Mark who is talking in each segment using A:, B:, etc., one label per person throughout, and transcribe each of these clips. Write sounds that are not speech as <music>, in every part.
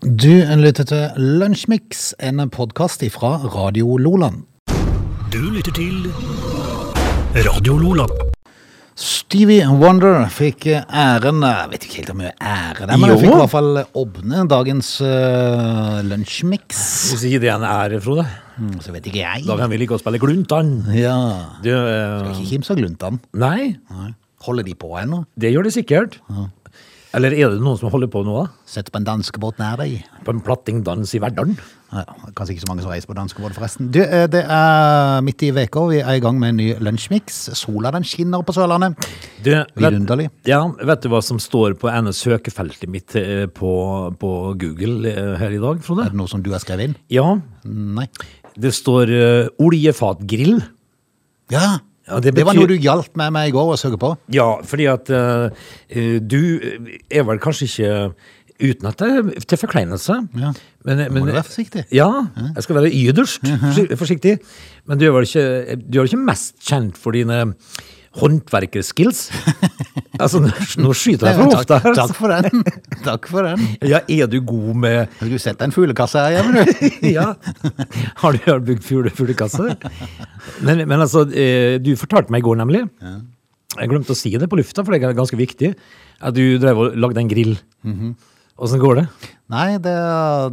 A: Du lytter til Lunsjmix, en podkast fra Radio Loland.
B: Du lytter til Radio Lola.
A: Stevie Wonder fikk æren Jeg vet ikke helt om hun er ære der, men hun
C: Jo.
A: fikk i hvert fall åpne dagens uh, lunsjmix.
C: Hvis ikke det er en ære, Frode,
A: Mm, Så vet ikke
C: da
A: jeg.
C: kan vi like å spille Gluntan.
A: Ja.
C: Det, eh,
A: Ikke Kim så glunt han.
C: nei,
A: Holder de på ennå?
C: det gjør det sikkert. Eller er det noen som holder på nå, da?
A: Sitter på en danskebåt nær deg?
C: På en plattingdans i Verdalen?
A: Ja, Kanskje ikke så mange som reiser på danskebåt, forresten. Du, eh, det er midt i veka, vi er i gang med en ny lunsjmix. Sola den skinner på Sørlandet.
C: Du,
A: Vidunderlig.
C: Ja, vet du hva som står på ene søkefeltet mitt eh, på, på Google eh, her i dag, Frode?
A: Er det noe som du har skrevet inn?
C: Ja,
A: Nei.
C: det står eh, oljefatgrill.
A: Ja,
C: Ja,
A: det,
C: det
A: var
C: betyr-
A: noe du hjalp meg med i går å søke på.
C: Ja, fordi at eh, eh, du er vel kanskje ikke uten at det er til forkleinelse.
A: Ja,
C: men,
A: må du være forsiktig.
C: Ja, jeg skal være yderst forsi- forsiktig. Men du er vel ikke, du er vel ikke mest kjent for dine
A: <laughs>
C: håndverkerskills? altså, nå, nå skyter jeg for
A: Eh, Takk,
C: ofte her. altså.
A: takk for den. <laughs> Takk for den.
C: Ja, er du god med
A: Har du sett en fuglekasse her hjemme,
C: <laughs>
A: du?
C: ja. Har du har du bygd fugle, fuglekasse? Men, men altså, eh, du fortalte meg i går nemlig, jeg glemte å si det på lufta, for det er ganske viktig, at du drev og lagde en grill. Åssen går det?
A: Nei, det,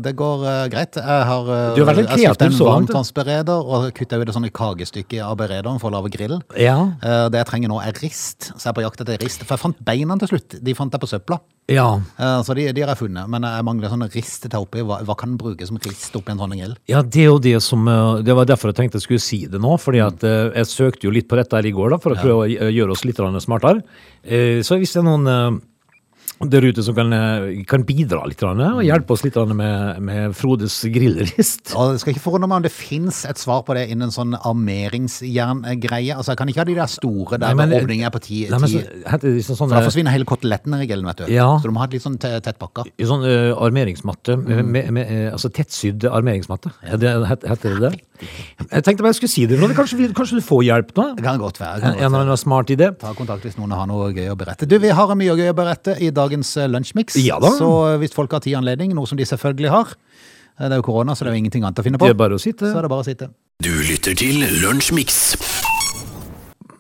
A: det går eh, greit. Jeg har eh,
C: Du har vært litt
A: jeg har kjøpt en
C: kreativ så langt, du.
A: varmtvannsbereder og kutta ut et sånt kagestykke av berederen for å lage grill.
C: Ja.
A: Eh, Det jeg trenger nå, er rist. Så jeg er på jakt etter rist. For jeg fant beina til slutt. De fant jeg på søpla.
C: Ja.
A: Eh, Så de, de har jeg funnet. Men jeg mangler sånn rist til å ta oppi. Hva, hva kan en bruke som rist oppi en sånn grill?
C: Ja, det er jo det som eh, Det var derfor jeg tenkte jeg skulle si det nå. fordi at eh, jeg søkte jo litt på dette her i går, da, for å prøve å gj- eh, gjøre oss litt grann smartere. Eh, Så hvis det er noen eh, der ute som kan, eh, kan bidra litt grann, eh, og hjelpe oss litt grann med, med Frodes grillrist
A: Og det skal ikke forundre meg om det fins et svar på det innen en sånn armeringsjerngreie. Altså, jeg kan ikke ha de der store der
C: Nei, men-
A: med åpninger på ti.
C: Nei, men så,
A: ti-
C: heter det liksom
A: For da
C: sånn
A: forsvinner hele koteletten ned i grillen, vet du.
C: Ja.
A: Så du må ha et litt sånn te- tettpakka.
C: Sånn eh, armeringsmatte,
A: Mm.
C: med, med, med, eh, altså tettsydd armeringsmatte. Er det, het- heter det det? Jeg tenkte bare jeg skulle si det, Frode. Kanskje, vi- kanskje du får hjelp nå?
A: Det kan godt være. det Kan
C: En en eller
A: godt være.
C: annen smart idé?
A: Ta kontakt hvis noen har noe gøy å berette. Du, Vi har mye gøy å berette i dagens eh, lunsjmix.
C: Ja da.
A: Så eh, hvis folk har tid og anledning, noe som de selvfølgelig har eh, Det er jo korona, så det er jo ingenting annet å finne på.
C: Det er bare å sitte.
A: Så er det bare å sitte.
B: Du lytter til Lunsjmix.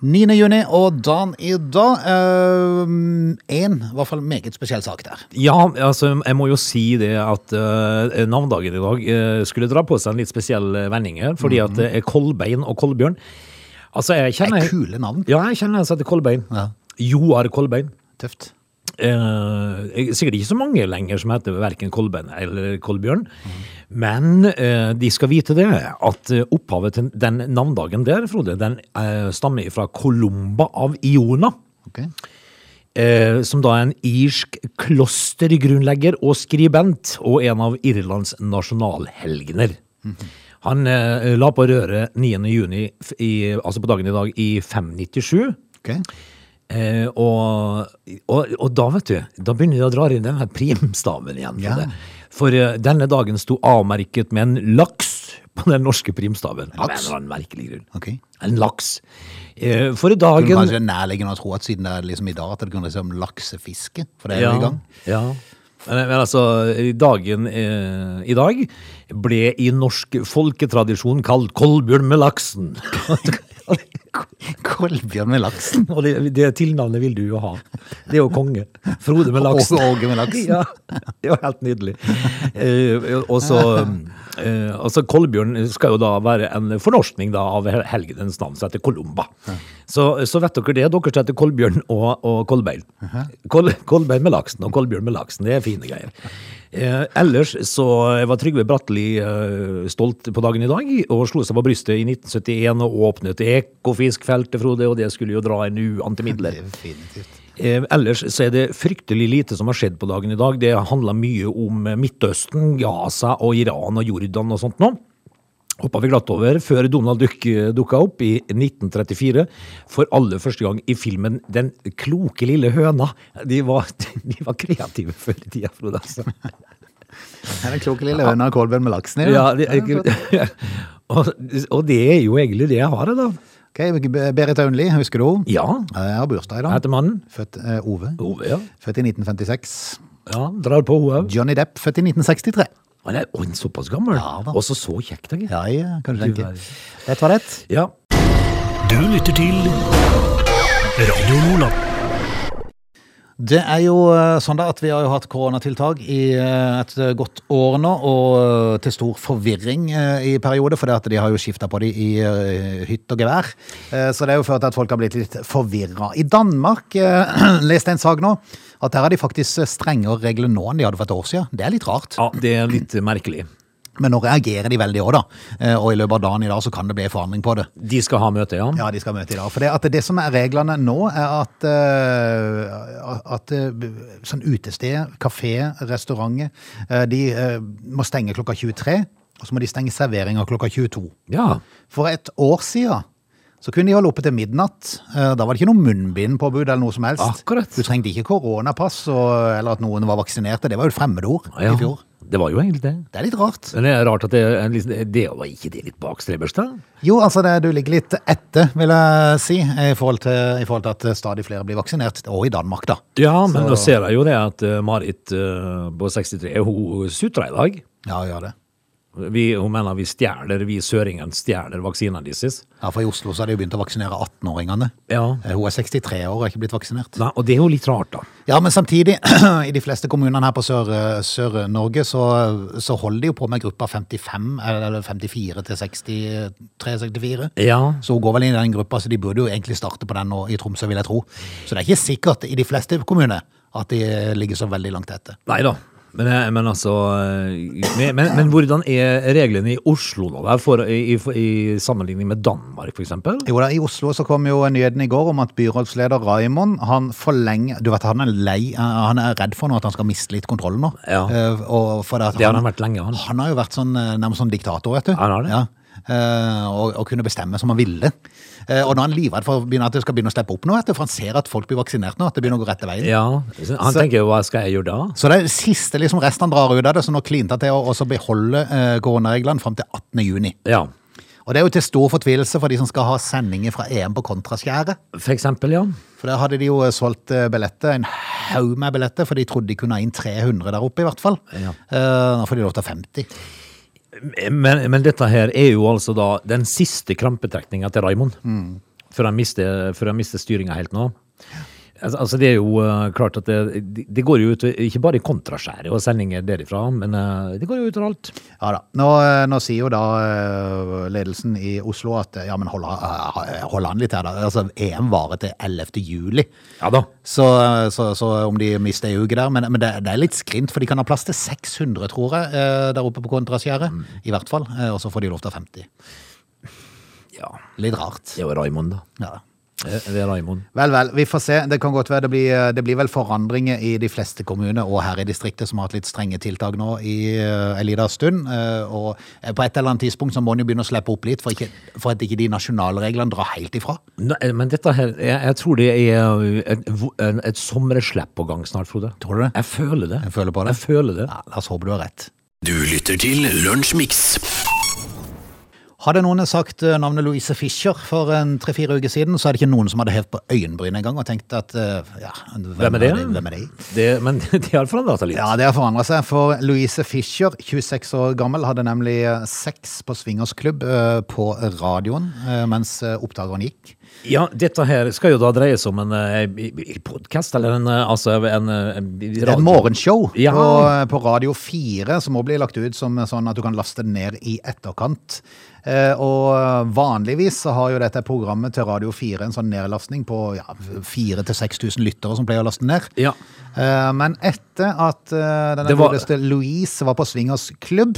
A: 9. juni og dagen i dag. Én, i hvert fall meget spesiell sak der.
C: Ja, altså, jeg må jo si det at uh, navndagen i dag eh, skulle dra på seg en litt spesiell eh, vending her, fordi at
A: Mm.
C: det er Kolbein og Kolbjørn. Altså,
A: Det
C: jeg kjenner...
A: er kule navn.
C: Ja, jeg kjenner en som heter Kolbein.
A: Ja.
C: Joar Kolbein.
A: Tøft.
C: Eh, sikkert ikke så mange lenger som heter hverken Kolbein eller Kolbjørn, men eh, de skal vite det, at eh, opphavet til den navndagen der, Frode, den eh, stammer fra Kolumba av Iona.
A: Ok.
C: eh, som da er en irsk klostergrunnlegger og skribent, og en av Irlands nasjonalhelgener. Han eh, la på røret 9. juni, f- i, altså på dagen i dag, i 597.
A: ok.
C: Eh, og, og, og da, vet du, da begynner de å dra inn den her primstaven igjen. For,
A: Ja.
C: det. for eh, denne dagen sto avmerket med en laks på den norske primstaven. Av en
A: Laks?
C: eller annen merkelig grunn.
A: Ok.
C: En laks. Eh, for
A: Det er
C: dagen
A: kanskje nærliggende å tro at siden det er liksom i dag at det kunne liksom laksefiske, for det er jo i <laughs> gang.
C: Ja. Men, men altså, dagen eh, i dag ble i norsk folketradisjon kalt Kolbjørn med laksen.
A: <laughs> Kolbjørn med laksen.
C: Og det, det tilnavnet vil du jo ha. Det er jo konge. Frode med laksen.
A: Og Åge med laksen.
C: Ja, <laughs> det var helt nydelig. Eh, og så eh, altså Kolbjørn skal jo da være en fornorskning da av hel- helgenens navn, som heter Kolumba. Så, så vet dere det, dere som heter Kolbjørn og, og Kolbein. Kol, Kolbein med laksen og Kolbjørn med laksen, det er fine greier. Eh, ellers så var Trygve Bratteli eh, stolt på dagen i dag, og slo seg på brystet i 1971 og åpnet Ekofiskfeltet, Frode, og det skulle jo dra inn uante midler.
A: Definitivt.
C: Eh, ellers så er det fryktelig lite som har skjedd på dagen i dag. Det handler mye om eh, Midtøsten, Gaza og Iran og Jordan og sånt nå. Hoppa vi glatt over før Donald Duck eh, dukka opp i 1934 for aller første gang i filmen Den kloke lille høna. De var, <laughs> de var kreative før i tida, Frode. altså.
A: Er det en klok lille høne av Kolbjørn med laksen i?
C: Ja,
A: det
C: de, <laughs> og, og det er jo egentlig det jeg har, da.
A: Ok, Berit Aunli, husker du henne?
C: Ja,
A: Jeg har bursdag i
C: jeg
A: dag.
C: heter mannen.
A: Født eh, Ove.
C: Ove, ja.
A: Født i 1956.
C: Ja, drar på hun òg.
A: Johnny Depp, født i 1963.
C: Han er oi, såpass gammel.
A: Ja da.
C: Og så så kjekk, da. gitt.
A: Ja, ja, kan du
C: Du
A: tenke.
C: verden.
A: Rett var rett.
C: Ja.
B: Du lytter til Radio Lola.
A: Det er jo eh, sånn da at vi har jo hatt koronatiltak i eh, et godt år nå, og eh, til stor forvirring eh, i perioder, for det at de har jo skifta på de i eh, hytt og gevær. Eh, Så det er jo ført til at folk har blitt litt forvirra. I Danmark eh, <clears throat> leste jeg en sak nå, at der har de faktisk eh, strengere regler nå enn de hadde for et år siden. Det er litt rart.
C: ja, det er litt merkelig.
A: Men nå reagerer de veldig òg, da. Eh, Og i løpet av dagen i dag så kan det bli en forandring på det.
C: De skal ha møte, ja.
A: Ja, de skal møte i dag. For det, at det som er reglene nå, er at, eh, at eh, sånn utested, kafé, restauranter, eh, de eh, må stenge klokka 23, og så må de stenge serveringa klokka 22.
C: Ja.
A: For et år siden så kunne de holde oppe til midnatt. Eh, Da var det ikke noe munnbindpåbud eller noe som helst.
C: Akkurat.
A: Du trengte ikke koronapass og, eller at noen var vaksinerte. Det var jo et fremmedord
C: ja.
A: i fjor.
C: Det var jo egentlig det.
A: Det er litt rart.
C: Men det er rart at det, er liksom, det var ikke det litt bakstrebersk, da?
A: Jo, altså det, du ligger litt etter, vil jeg si, i forhold til, i forhold til at stadig flere blir vaksinert, og i Danmark, da.
C: Ja, men
A: Så-
C: nå ser jeg jo det at eh, Marit eh, på 63 hun sutrer i dag.
A: Ja, gjør det.
C: Vi, hun mener vi stjeler, vi søringene stjeler vaksinene deres.
A: Ja, for i Oslo så har de jo begynt å vaksinere 18-åringene.
C: Ja.
A: Eh, Hun er 63 år og er ikke blitt vaksinert.
C: Nei, og det er jo litt rart, da.
A: Ja, men samtidig, <clears throat> i de fleste kommunene her på Sør- Sør-Norge, så, så holder de jo på med gruppa 55, eller 54 til 63-64.
C: Ja.
A: Så hun går vel inn i den gruppa, så de burde jo egentlig starte på den nå i Tromsø, vil jeg tro. Så det er ikke sikkert i de fleste kommuner at de ligger så veldig langt etter.
C: Nei da. Men, eh, men altså eh, men, men, men hvordan er reglene i Oslo nå, der, for, i, i, i sammenligning med Danmark, f.eks.?
A: Jo da, I Oslo så kom jo nyheten i går om at byrådsleder Raimond han forlenger Du vet han er lei, han er redd for nå at han skal miste litt kontrollen nå.
C: Ja.
A: Eh, og for det at
C: Det har han vært lenge, han.
A: Han har jo vært sånn, eh, nærmest sånn diktator, vet du.
C: Han har det.
A: Ja. Eh, og, og kunne bestemme som han ville. Eh, og nå er han livredd for å begynne, at det skal begynne å steppe opp nå, vet du, for han ser at folk blir vaksinert nå, at det begynner å gå rette veien.
C: Ja. Han
A: Så-
C: tenker jo hva skal jeg gjøre da?
A: Så det er det siste liksom, rest han drar ut av det, så nå klinte han til å også beholde eh, koronareglene fram til 18. juni.
C: Ja.
A: Og det er jo til stor fortvilelse for de som skal ha sendinger fra EM på Kontraskjæret.
C: For eksempel, ja.
A: For der hadde de jo solgt eh, billetter, en haug med billetter, for de trodde de kunne ha inn 300 der oppe i hvert fall.
C: Ja.
A: Eh, nå får de lov til 50.
C: Men, men dette her er jo altså da den siste krampetrekninga til Raimond. Før han mister, før han mister styringa helt nå. Altså, altså det er jo eh, klart at det, det går jo ut ikke bare i kontraskjæret og sendinger derifra, men eh, det går jo ut over alt.
A: Ja da. Nå, eh, nå sier jo da eh, ledelsen i Oslo at eh, ja, men hold, eh, hold an litt her da. Altså EM varer til 11. juli.
C: Ja da.
A: Så, eh, så, så om de mister ei uke der, men, men det, det er litt skrint, for de kan ha plass til 600, tror jeg, eh, der oppe på Kontraskjæret.
C: Mm.
A: I hvert fall. Eh, Og så får de lov til 50.
C: Ja,
A: Litt rart.
C: det er jo Raimond, da.
A: Ja.
C: Det det er Raimond.
A: Vel, vel, vi får se. Det kan godt være det blir, eh, det blir vel forandringer i de fleste kommuner og her i distriktet som har hatt litt strenge tiltak nå i eh, en liten stund. Eh, Og eh, på et eller annet tidspunkt så må en jo begynne å slippe opp litt for, ikke, for at ikke de nasjonale reglene drar helt ifra.
C: Nei, eh, men dette her, jeg, jeg tror det er eh, et, et, et sommerslepp på gang snart, Frode.
A: Tror du det?
C: Jeg føler det.
A: Jeg føler på det.
C: Jeg føler det.
A: Ja, la oss håpe du har rett.
B: Du lytter til Lunsjmix.
A: Hadde noen sagt eh, navnet Louise Fischer for en tre-fire uker siden, så er det ikke noen som hadde hevd på øyenbryn engang og tenkt at eh, ja, hvem,
C: Hvem er det?
A: Hvem er det?
C: det men <laughs> det har forandra seg litt.
A: Ja, det har forandra seg. For Louise Fischer, 26 år gammel, hadde nemlig eh, sex på swingersklubb eh, på radioen eh, mens eh, oppdageren gikk.
C: Ja, dette her skal jo da dreie seg om en eh, podkast, eller en, eh, altså en, eh,
A: Det er
C: radio-
A: et morgenshow
C: Ja.
A: på, eh, på Radio 4 som også blir lagt ut som sånn at du kan laste det ned i etterkant. Eh, og vanligvis så har jo dette programmet til Radio 4 en sånn nedlastning på ja, 4000-6000 lyttere som pleier å laste ned.
C: Ja.
A: Eh, men etter at eh, denne
C: Det var-
A: godeste Louise var på Svingers klubb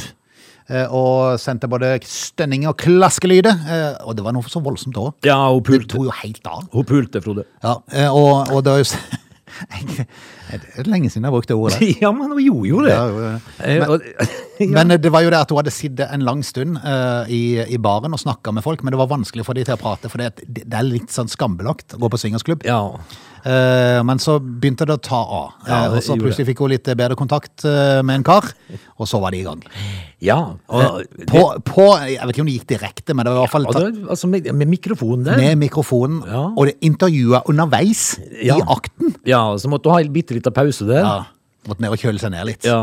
A: eh, og sendte både stønning og klaskelyder, eh, og det var noe så voldsomt òg.
C: Ja, hun
A: Det
C: pulte,
A: tok jo helt av.
C: hun pulte, Frode.
A: Ja, eh, og, og det er jo s- <laughs> Det er lenge siden jeg har brukt det ordet.
C: <laughs> <laughs> Ja, men hun gjorde jo det.
A: Ja, jo, ja.
C: Eh, og-
A: Men eh, det var jo det at hun hadde sittet en lang stund eh, i, i baren og snakka med folk, men det var vanskelig for de til å prate, for det, at det det er litt sånn skambelagt å gå på swingersklubb.
C: <laughs> ja.
A: Eh, men så begynte det å ta av, eh,
C: Ja, det
A: og så
C: gjorde
A: plutselig fikk hun litt bedre kontakt eh, med en kar, og så var de i gang. Eh,
C: ja. Og,
A: På, på Jeg vet ikke om det gikk direkte, men det var i hvert fall tatt
C: altså, altså, med, med mikrofonen der.
A: med mikrofonen,
C: Ja.
A: og det intervjua underveis
C: Ja.
A: i akten.
C: Ja, så måtte hun ha en bitte liten pause der.
A: Ja. Måtte ned og kjøle seg ned litt.
C: Ja,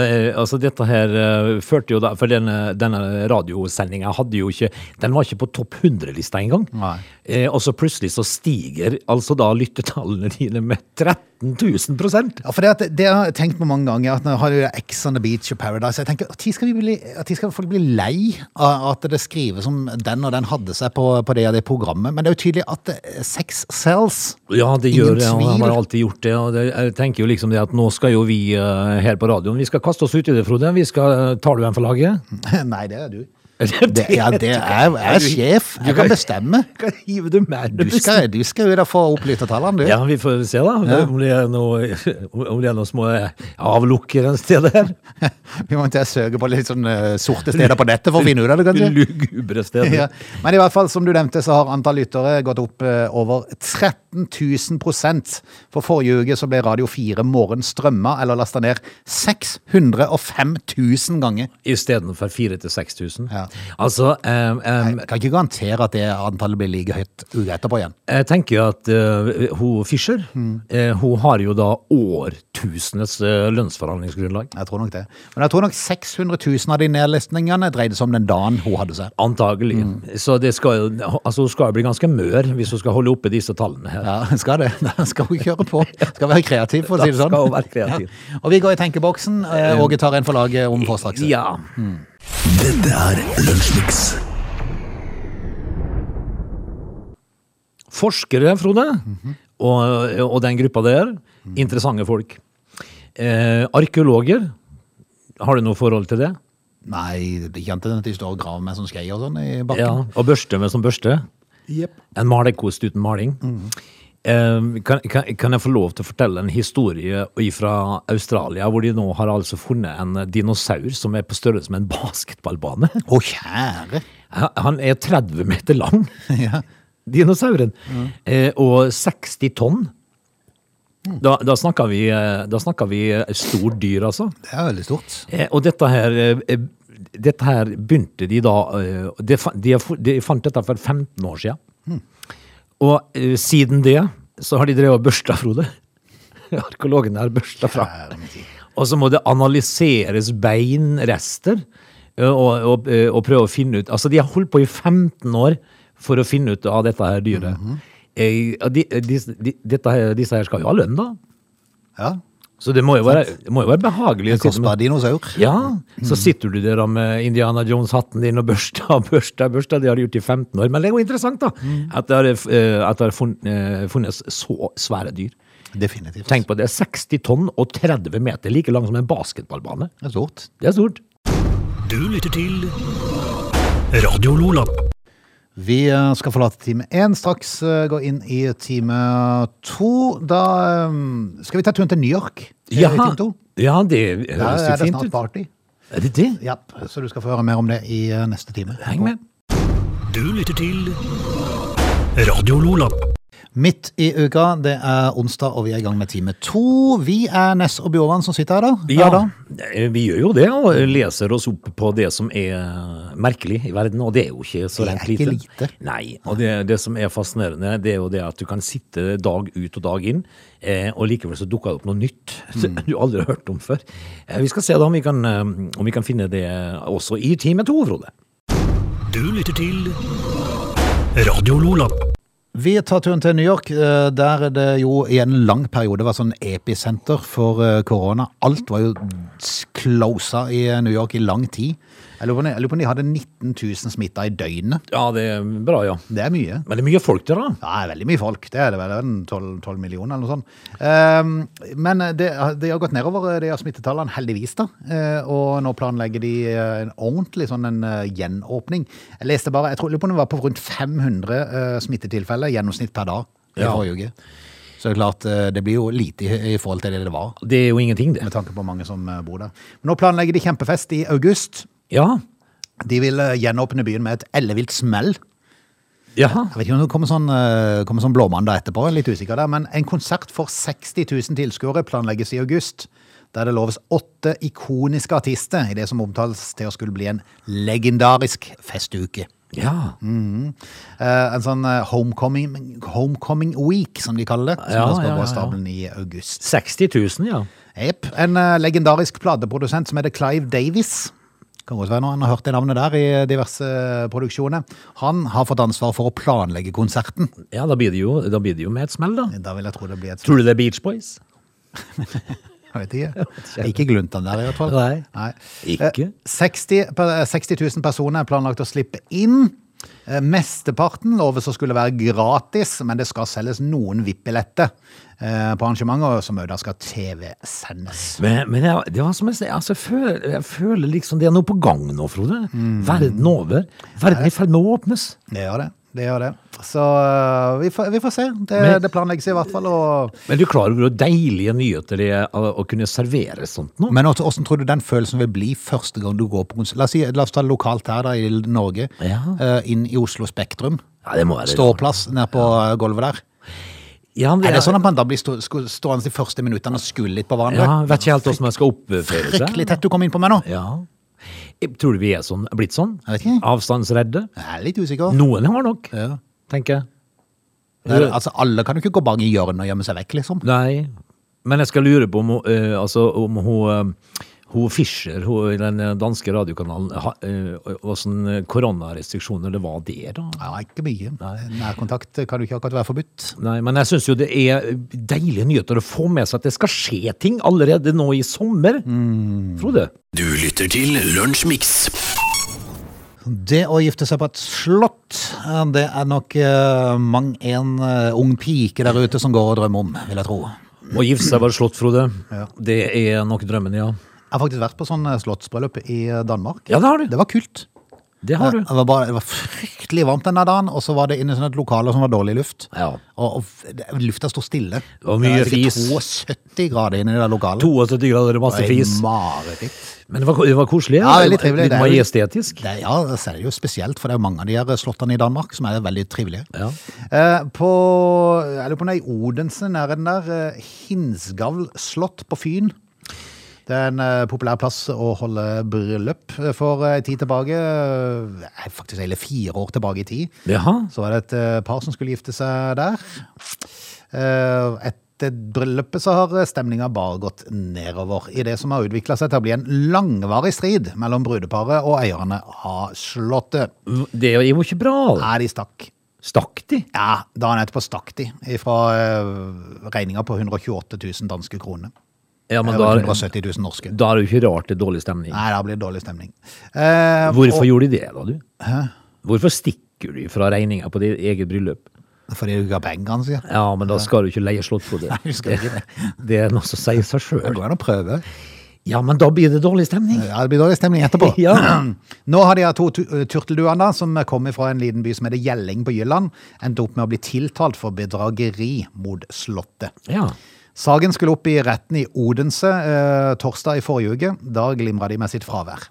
C: eh, altså dette her eh, førte jo da, for denne, denne radiosendingen hadde jo ikke, den var ikke på topp 100-lista engang.
A: Nei.
C: Eh, og så plutselig så stiger altså da lyttetallene dine med 13 000 prosent.
A: Ja, for det, at, det har jeg tenkt på mange ganger, at nå har du X on the Beach og Paradise. Jeg tenker, Når skal, vi bli, at tid skal folk bli lei av at det skrives om den og den hadde seg på, på det og det programmet? Men det er jo tydelig at eh, sex sells.
C: Ja, det
A: Ingen
C: gjør det, og han har
A: tvil.
C: alltid gjort det. Og det, jeg tenker jo liksom det at nå skal jo vi eh, her på radioen, vi skal kaste oss ut i det, Frode. Vi skal, eh, tar du en for laget?
A: <laughs> Nei, det er du. Det,
C: Det-
A: ja, det er, jeg er sjef. Jeg kan bestemme.
C: Hva hiver du med?
A: Du skal, du skal jo da få opp lyttertallene, du.
C: Ja, vi får se da, om det er noe, om det er noe små eh, avlukker en sted der.
A: <laughs> Vi må ikke søke på litt sånn eh, sorte steder på nettet for å finne ut av det, kanskje.
C: Lugubre steder.
A: Ja. Men i hvert fall, som du nevnte, så har antall lyttere gått opp eh, over 13 000 prosent. For forrige uke så ble Radio 4 Morgen strømma eller lasta ned 605 000 ganger.
C: Istedenfor 4000-6000.
A: Ja.
C: Altså, em, em,
A: Jeg kan ikke garantere at det antallet blir like høyt uka etterpå igjen.
C: jeg tenker jo at eh, hun Fischer eh, hun har jo da årtusenes eh, lønnsforhandlingsgrunnlag.
A: Jeg tror nok det. Men jeg tror nok 600 000 av de nedlistningene dreide seg om den dagen hun hadde seg.
C: Antagelig. Så det skal, jo- altså, hun skal jo bli ganske mør hvis hun skal holde oppe disse tallene her.
A: Ja, <laughs> skal det. Da skal hun kjøre på. Skal være kreativ, for å si det
C: Da
A: sånn.
C: skal hun være kreativ.
A: Ja. Og vi går i tenkeboksen. eh, Åge tar en for laget om få straks.
C: Ja.
B: Dette er Lunsjmix.
C: Forskere, Frode, og, og den gruppa der, interessante folk. Eh, arkeologer, har du noe forhold til det?
A: Nei, det kjente den at de står og graver med sånn skei og sånn i
C: Ja,
A: bakken.
C: og børste med som børste. En malerkost uten maling. Eh, kan, kan, kan jeg få lov til å fortelle en historie fra Australia, hvor de nå har altså funnet en dinosaur som er på størrelse med en basketballbane?
A: Å, kjære! <laughs>
C: Han han er 30 meter lang,
A: Ja.
C: dinosauren, eh, og 60 tonn. Da, da, snakker vi, eh, da snakker vi eh, stort dyr, altså.
A: Det er veldig stort.
C: Eh, Og dette her, eh, dette her begynte de da eh, De, fa- de, har fu- de fant dette for 15 år siden. Og eh, siden det så har de drevet og børsta, Frode. <laughs> Arkeologene har børsta fra.
A: Kjære min tid.
C: Og så må det analyseres beinrester eh, og, og, eh, og prøve å finne ut Altså, de har holdt på i 15 år for å finne ut av dette her dyret. Eh, og de, de, de, dette her, disse her skal jo ha lønn, da.
A: Ja.
C: Så det må jo være, det må jo være behagelig. å sitte med-
A: Kostbar dinosaur.
C: ja,
A: Mm.
C: så sitter du der med Indiana Jones-hatten din og børsta og børsta, og børsta, det har de gjort i 15 år. Men det er jo interessant, da,
A: Mm.
C: at det har, eh, at det har funnet, eh, funnes så svære dyr.
A: Definitivt.
C: Tenk på det, 60 tonn og 30 meter, like lang som en basketballbane.
A: Det er stort.
C: Det er stort.
B: Du lytter til Radio Lola.
A: Vi eh, skal forlate time én straks. eh, Gå inn i time to. Da eh, skal vi ta turen til New York. eh, i time to.
C: ja, det
A: Der
C: høres jo
A: er det
C: fint
A: snart
C: ut.
A: party.
C: Er det det?
A: Ja, så du skal få høre mer om det i eh, neste time.
C: Heng med.
B: Du lytter til Radio Lola.
A: Midt i uka, det er onsdag, og vi er i gang med time to. Vi er Ness og Bjorvann som sitter her, da. Her
C: Ja,
A: da.
C: eh, vi gjør jo det, og leser oss opp på det som er merkelig i verden, og det er jo ikke så
A: Det er
C: rent
A: ikke
C: lite.
A: lite.
C: Nei, og det, det som er fascinerende, det er jo det at du kan sitte dag ut og dag inn, eh, og likevel så dukker det opp noe nytt <laughs> som
A: Mm.
C: du aldri har hørt om før. Eh, vi skal se da om vi, kan, eh, om vi kan finne det også i time to, Frode.
B: Du lytter til Radio Lola.
A: Vi tar turen til New York, eh, der det jo i en lang periode var sånn episenter for eh, korona. Alt var jo closa i eh, New York i lang tid. Jeg lurer på om- jeg lurer på om de hadde 19 000 smitta i døgnet.
C: Ja, det er bra, ja.
A: Det er mye.
C: Men det er mye folk der, da.
A: Ja, det er veldig mye folk. Det er det vel en 12, 12 millioner eller noe sånt. Ehm, Men det, det har gått nedover, eh, de har smittetallene, heldigvis da. Eh, Og nå planlegger de eh, en ordentlig sånn en eh, gjenåpning. Jeg leste bare, jeg tror lurer på om det var på rundt 500 eh, smittetilfeller i gjennomsnitt per dag i
C: Ja.
A: forrige uke. Så det er klart, eh, det blir jo lite i, i forhold til det det var,
C: Det er jo ingenting, det.
A: med tanke på mange som eh, bor der. Men nå planlegger de kjempefest i august.
C: Ja.
A: De vil eh, gjenåpne byen med et ellevilt smell.
C: Jaha.
A: Jeg vet ikke om det kommer sånn, eh, kommer sånn blåmandag etterpå, jeg er litt usikker der, men en konsert for 60 000 tilskuere planlegges i august, der det loves åtte ikoniske artister i det som omtales til å skulle bli en legendarisk festuke.
C: Ja.
A: Mm. Eh, en sånn eh, homecoming, homecoming week, som de kaller det, som
C: Ja,
A: da skal gå
C: ja, ja,
A: av
C: ja.
A: stabelen i august.
C: 60 000, ja.
A: Jepp. En eh, legendarisk plateprodusent som heter Clive Davis. Kan godt være når han har hørt det navnet der i diverse eh, produksjoner. Han har fått ansvar for å planlegge konserten.
C: Ja, da blir det jo, da blir det jo med et smell, da.
A: Da vil jeg tro det blir et
C: Tror du det er Beach Boys?
A: Jeg vet ikke. Ikke Gluntan der, i hvert fall.
C: Nei. Ikke?
A: Eh, 60, per- eh, 60 000 personer er planlagt å slippe inn. Eh, Mesteparten loves å skulle være gratis, men det skal selges noen VIP-billetter eh, på arrangementet, og som også da skal TV-sendes.
C: Men, men jeg, det var som jeg, sier, altså, jeg, føler, jeg føler liksom det er noe på gang nå, Frode.
A: Mm.
C: Verden over. Verden er i ferd med å åpnes.
A: Det gjør det. Det gjør det. Så eh, vi får, vi får se. Det,
C: Men-
A: det planlegges i hvert fall. Og...
C: Men du er klar over hvor deilige nyheter det er å å kunne servere sånt nå?
A: Men også, hvordan tror du den følelsen vil bli første gang du går på konsert? La, oss si, la oss ta det lokalt her da, i Norge,
C: Ja.
A: eh, inn i Oslo Spektrum.
C: Ja, det må være
A: Ståplass nede på eh, gulvet der.
C: Ja,
A: Er det sånn at man da blir stå, sko- stående de første minuttene og skulle litt på
C: ja,
A: hverandre?
C: Vet ikke helt hvordan man skal oppføre seg.
A: Fryktelig tett du kom inn på meg nå.
C: Ja. Jeg Tror du vi er sånn, blitt sånn?
A: Jeg vet ikke.
C: Avstandsredde?
A: Jeg er litt usikker.
C: Noen har nok,
A: Ja.
C: tenker jeg.
A: Det er, altså, alle kan jo ikke gå bak i hjørnet og gjemme seg vekk, liksom.
C: Nei, men jeg skal lure på om, hun, eh, altså, om hun, eh, hun Fischer, hun, i den eh, danske radiokanalen, ha, eh, hvordan koronarestriksjoner det var det da?
A: Ja, ikke mye. Nærkontakt kan jo ikke akkurat være forbudt.
C: Nei, men jeg synes jo det er deilige nyheter å få med seg at det skal skje ting allerede nå i sommer.
A: Mm.
C: Frode?
B: Du lytter til Lunsjmix.
A: Det å gifte seg på et slott, eh, det er nok eh, mang en eh, ung pike der ute som går og drømmer om, vil jeg tro. Jeg
C: Å gifte seg var slått, Frode.
A: Ja.
C: Det er nok drømmen, ja.
A: har faktisk vært på sånn eh, slottsbryllup i eh, Danmark.
C: Ja, det har du.
A: Det var kult.
C: Det har du.
A: Det var, bare, det var fryktelig varmt denne dagen, og så var det inne i sånn et lokale som var dårlig luft.
C: Ja.
A: Og, og f- det- lufta sto stille. Det
C: var mye fis.
A: Det var sikkert 72 grader inne i det lokalet.
C: 72 grader, masse fis.
A: Det var mareritt.
C: Men det var, det var koselig.
A: Ja, veldig trivelig. Det
C: Litt
A: er jo-
C: majestetisk.
A: Det, er- ja, det er jo spesielt, for det er jo mange av de her slottene i Danmark som er veldig trivelige.
C: Ja.
A: Eh, på, jeg lurer på om det er i Odense, nær den der, eh, Hinsgavl slott på Fyn. Det er en eh, populær plass å holde bryllup for eh, tid tilbake, eh, faktisk hele fire år tilbake i tid.
C: Jaha.
A: Så var det et eh, par som skulle gifte seg der. Eh, Etter bryllupet så har eh, stemninga bare gått nedover i det som har utvikla seg til å bli en langvarig strid mellom brudeparet og eierne av slottet.
C: Det er jo ikke bra. da.
A: Nei, de stakk.
C: Stakk de?
A: Ja, da han etterpå stakk de fra regninga på 128 000 danske kroner.
C: Ja, men
A: Det
C: da,
A: var
C: er-
A: 170 000 norske.
C: da er det jo ikke rart det er dårlig stemning.
A: Nei, da blir det dårlig stemning. Eh,
C: Hvorfor gjorde de det, da, du? Hvorfor stikker du fra regninga på ditt eget bryllup?
A: og- Fordi du ga pengene, sier jeg.
C: Ja, men da skal du ikke leie slott på det.
A: <laughs> Nei, du skal ikke det.
C: Det er noe som sier
A: Det
C: seg sjøl.
A: går an å prøve.
C: Ja, men da blir det dårlig stemning.
A: Eh, Ja, det blir dårlig stemning etterpå.
C: Ja.
A: <clears throat> Nå har de her to tu- eh, turtelduene da, som kom fra en liten by som heter Gjelling på Jylland, endt opp med å bli tiltalt for bedrageri mot Slottet.
C: Ja.
A: Saken skulle opp i retten i Odense eh, torsdag i forrige uke. Da glimra de med sitt fravær.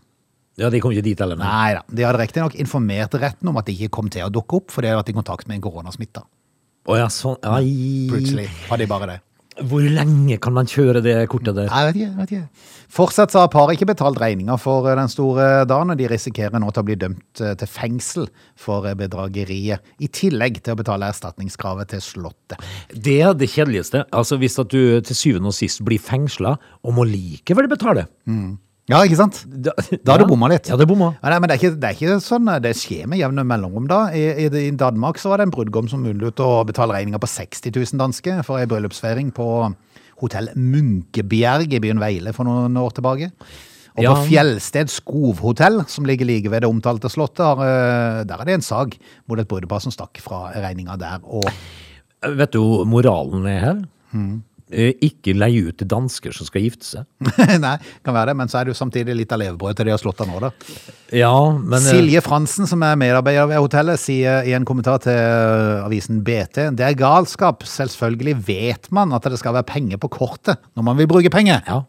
C: ja, de kom ikke dit heller. nei.
A: Nei da, de hadde riktignok informert retten om at de ikke kom til å dukke opp, for de hadde vært i kontakt med en koronasmitta.
C: Å ja, sånn. Ai.
A: Plutselig har de bare det.
C: Hvor lenge kan man kjøre det kortet der?
A: Nei, vet ikke, vet ikke. Fortsatt så har paret ikke betalt regninga for eh, den store dagen, og de risikerer nå til å bli dømt eh, til fengsel for eh, bedrageriet, i tillegg til å betale erstatningskravet til Slottet.
C: Det er det kjedeligste. Altså, Hvis at du til syvende og sist blir fengsla og må likevel betale.
A: Ja, ikke sant?
C: Da,
A: Da har du bomma litt.
C: Ja, det bomma.
A: Ja, nei, men det er, ikke, det er ikke sånn, eh, det skjer med jevne mellomrom da. I, i, I Danmark så var det en brudgom som unnlot å betale regninga på 60 000 danske for ei bryllupsfeiring på hotell Munkebjerg i byen Veile for noen år tilbake. Og
C: Ja.
A: på Fjellsted Skovhotell, som ligger like ved det omtalte slottet, har, eh, der er det en sak mot et brudepar som stakk fra regninga der. Og <laughs>
C: Vet du hvor moralen er her?
A: Hmm.
C: Eh, Ikke leie ut til dansker som skal gifte seg.
A: Nei, kan være det, men så er det jo samtidig litt av levebrødet til de har slått av nå, da.
C: Ja, men eh,
A: Silje Fransen, som er medarbeider ved hotellet, sier i en kommentar til eh, avisen BT Det er galskap. Selvfølgelig vet man at det skal være penger på kortet når man vil bruke penger.
C: Ja.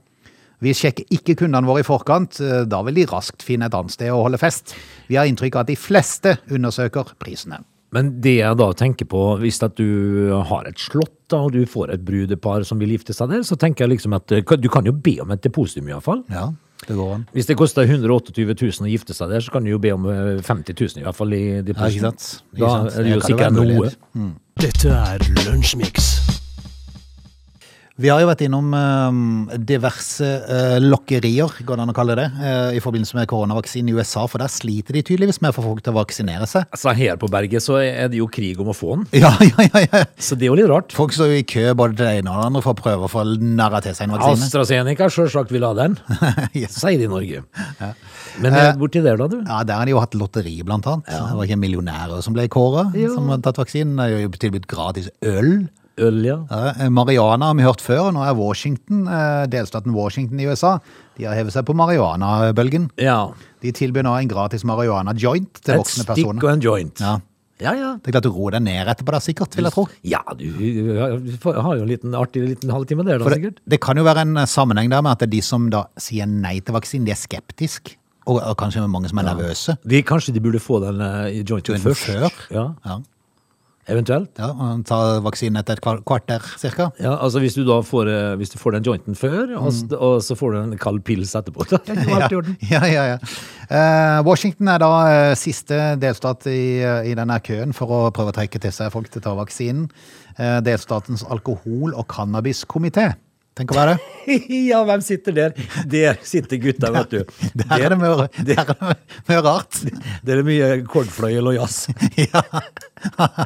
A: Vi sjekker ikke kundene våre i forkant. eh, Da vil de raskt finne et annet sted å holde fest. Vi har inntrykk av at de fleste undersøker prisene.
C: Men det jeg da tenker på, hvis at du har et slott da, og du får et brudepar som vil gifte seg der, så tenker jeg liksom at eh, du kan jo be om et depositum iallfall.
A: Ja, det går an.
C: Hvis det koster 128 000 å gifte seg der, så kan du jo be om eh, 50 000 i hvert fall i
A: Ja,
C: depositum.
A: ikke sant? Ikke
C: Da
A: sant?
C: er det
A: Det kan
C: jo
A: jo
C: sikkert
A: være mulighet.
C: noe.
B: Dette er Lunsjmix.
A: Vi har jo vært innom eh, diverse eh, lokkerier, går det an å kalle det, eh, i forbindelse med koronavaksinen i USA, for der sliter de tydeligvis med å få folk til å vaksinere seg.
C: Altså Her på berget så er det jo krig om å få den,
A: <laughs> Ja, ja, ja, ja.
C: så det er jo litt rart.
A: Folk står jo i kø både til det ene og det andre for å prøve å få narra til seg en
C: Altså,
A: vaksine.
C: AstraZeneca sjølsagt vil ha den,
A: <laughs> Ja.
C: sier de i Norge. Men eh, borti der, da, du?
A: Ja, Der har de jo hatt lotteri, blant annet. Det var ikke millionærer som ble kåra,
C: Ja.
A: som har tatt vaksinen. Det er jo tilbudt gratis øl.
C: Øl, ja.
A: Ja, Mariana har vi hørt før, og nå er Washington, eh, delstaten Washington i USA, de har hevet seg på marihuana-bølgen.
C: ja.
A: De tilbyr nå en gratis marihuana-joint til
C: Et
A: voksne
C: stikk og
A: personer.
C: en joint.
A: Ja.
C: ja. ja.
A: Det er klart du roer deg ned etterpå, da, sikkert, vil jeg tro.
C: Ja, du, du har jo en liten artig liten halvtime der, da,
A: For det,
C: sikkert.
A: det kan jo være en eh, sammenheng der med at det er de som da sier nei til vaksinen, de er skeptiske. Og, og kanskje mange som er nervøse.
C: De, kanskje de burde få den eh, i jointen
A: Jointen
C: først?
A: før?
C: Ja,
A: Ja,
C: Eventuelt.
A: ja og tar vaksinen etter et kvar- kvarter, cirka.
C: Ja, altså Hvis du da får, eh, hvis du får den jointen før, og, s- og så får du en kald pils etterpå. Da er jo alt i orden.
A: Mm. <laughs> Ja, ja, ja. Eh, Washington er da eh, siste delstat i, eh, i denne køen for å prøve å trekke til seg folk til å ta vaksinen. Eh, delstatens alkohol- og cannabiskomité. Tenk å være det.
C: <laughs> <laughs> ja, hvem sitter der? Der sitter gutta, vet du.
A: Der er det mye, der er det mye rart. <laughs>
C: Der er mye kordfløyel og jazz.
A: Ja. <laughs>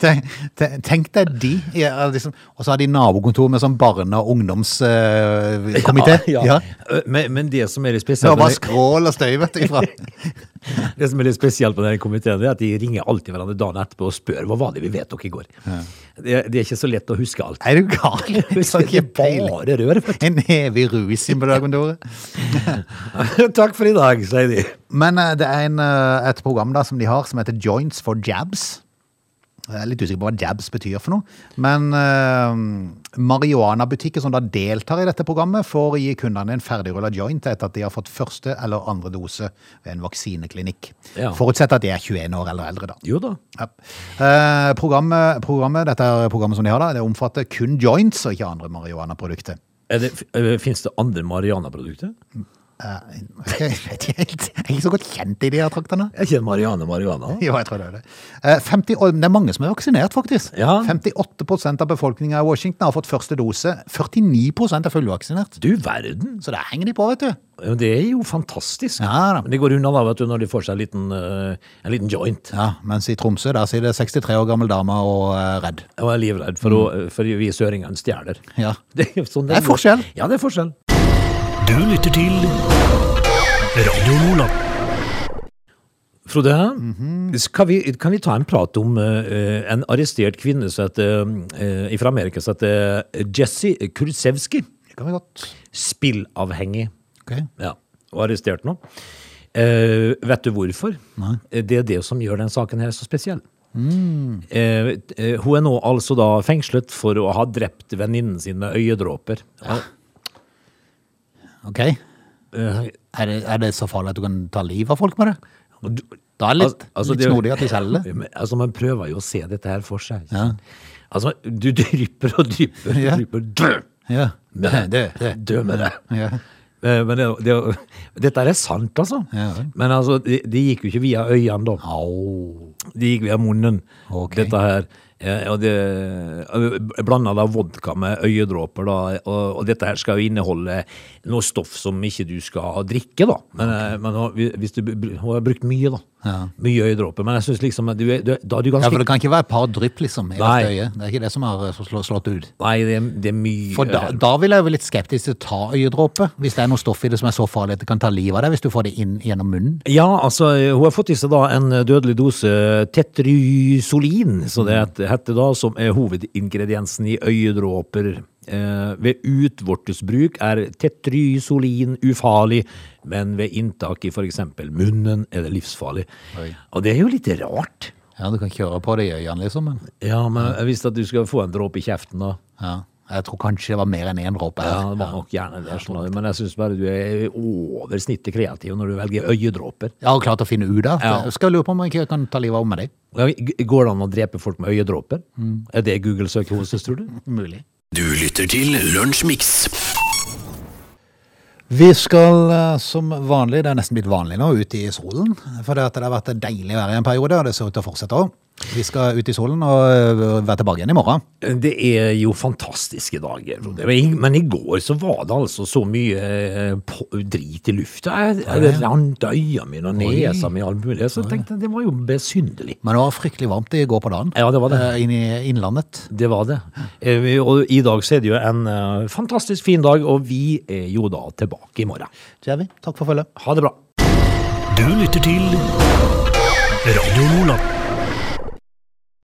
A: Tenk, tenk- tenk deg de. Ja, liksom. Og så har de nabokontor med sånn barne- og ungdomskomité.
C: Ja, ja. Eh, Men, men det som er litt spesielt
A: Det var
C: med
A: skrål og støy, vet du. Ifra.
C: <laughs> den- det som er litt spesielt med den komiteen, det er at de ringer alltid hverandre dagen etterpå og spør hva var det vi vedtok i går. Det, det er ikke så lett å huske
A: <laughs>
C: alt.
A: Er du gal? Jeg har
C: Det
A: ikke
C: er
A: peiling.
C: bare rør.
A: En evig rus inn på det kontoret.
C: <laughs> Takk for i dag, sier de.
A: Men eh, det er en, eh, et program da, som de har som heter Joints for Jabs. Jeg er litt usikker på hva jabs betyr for noe. Men eh, marihuanabutikker som da deltar i dette programmet, får gi kundene en ferdigrulla joint etter at de har fått første eller andre dose ved en vaksineklinikk.
C: Ja.
A: Forutsett at de er 21 år eller eldre, da.
C: Jo da.
A: Ja. Eh, programmet, programmet, dette er programmet som de har, da, det omfatter kun joints og ikke andre marihuanaprodukter.
C: Er det, eh, finnes det andre marihuana-produkter?
A: Eh, <laughs> jeg vet ikke helt. Jeg er ikke så godt kjent i de her traktene.
C: Er ikke marihuana marihuana?
A: Jo, jeg tror det er det. Eh, 50, og det er mange som er vaksinert, faktisk.
C: Ja.
A: 58 av befolkninga i Washington har fått første dose. 49 er fullvaksinert.
C: Du verden!
A: Så der henger de på, vet du.
C: Ja, Det er jo fantastisk.
A: Ja da.
C: Men det går unna da, vet du, når de får seg en liten, eh, en liten joint.
A: Ja, Mens i Tromsø der sier det 63 år gammel dame og eh, redd.
C: Og er livredd for, å, eh, for vi søringene stjeler.
A: Mm. Ja.
C: Det er, jo sånn
A: Det er
C: går.
A: forskjell.
C: Ja, det er forskjell.
B: Du lytter til Radio Nordland.
C: Frode, skal vi, kan vi ta en prat om eh, en arrestert kvinne som heter, eh, fra Amerika som heter eh, Jesse Kursevski?
A: Det kan vi godt.
C: Spillavhengig.
A: Ok.
C: Ja, og arrestert nå. Eh, vet du hvorfor? Eh, Det er det som gjør den saken her så spesiell. Eh, eh, hun er nå altså da fengslet for å ha drept venninnen sin med øyedråper.
A: Ok.
C: Eh,
A: Er det, er det så farlig at du kan ta livet av folk med det? Da er det litt, litt snodig at de selger det.
C: Altså, man prøver jo å se dette her for seg. ikke
A: Ja.
C: sant? Altså, du drypper og drypper og
A: Ja.
C: drypper. Dø!
A: Ja.
C: Med
A: Det,
C: deg.
A: det.
C: Dø med deg.
A: Ja.
C: Eh, Men det, det, dette er sant, altså.
A: Ja, vel.
C: Men altså, det de gikk jo ikke via øynene, da.
A: Au.
C: Det gikk via munnen,
A: Ok.
C: dette her. Eh, Og det blanda da vodka med øyedråper, da. Og, og dette her skal jo inneholde noe stoff som ikke du skal drikke, da. Men, eh, men hun- hvis du, br- hun har brukt mye, da.
A: Ja.
C: Mye øyedråper. Men jeg syns liksom at du, er- du, da er du
A: Ja,
C: ganske
A: for det kan ikke være et par drypp, liksom. i
C: Nei.
A: hvert øye. Det er ikke det som har eh, slå- slått ut.
C: Nei, det, er- det er mye
A: For da, da vil jeg være litt skeptisk til å ta øyedråpe, hvis det er noe stoff i det som er så farlig at det kan ta livet av deg hvis du får det inn gjennom munnen.
C: Ja, altså, hun har fått i seg da en dødelig dose tetrysolin, så det het- heter da, som er hovedingrediensen i øyedråper. Eh, ved utvortesbruk er tetrysolin ufarlig, men ved inntak i for eksempel munnen er det livsfarlig.
A: Oi.
C: Og det er jo litt rart.
A: Ja, du kan kjøre på det i øynene, liksom. Men
C: Ja, men hvis at du skal få en dråpe i kjeften da,
A: ja. jeg tror kanskje det var mer enn én dråpe.
C: ja,
A: her.
C: det var nok gjerne det, skjønner du. men jeg synes bare du er over snittet kreativ når du velger øyedråper.
A: Jeg har klart å finne ut av det.
C: Ja.
A: Jeg skal lure på om jeg ikke kan ta livet av med deg.
C: Ja, g- Går det an å drepe folk med øyedråper? Er det Google søker hos oss, tror du?
A: Mulig.
B: Du lytter til Lunsjmix.
A: Vi skal eh, som vanlig, det er nesten blitt vanlig nå, ut i solen. For det, at det har vært deilig vær i en periode, og det ser ut til å fortsette òg. Vi skal ut i solen og øh, være tilbake igjen i morgen.
C: Det er jo fantastiske dager, Frode. Men i- Men i går så var det altså så mye eh, på- drit i lufta. Jeg, jeg rant øya mine og nesa mi og alt mulig. Så jeg tenkte jeg det var jo besynderlig.
A: Men det var fryktelig varmt i går på dagen.
C: Ja, det var det.
A: Eh, Inn i innlandet.
C: Det var det. Eh, vi- Og i dag så er det jo en eh, fantastisk fin dag, og vi er jo da tilbake i morgen.
A: Det er vi. Takk for følget.
C: Ha det bra.
B: Du lytter til Radio Nordland.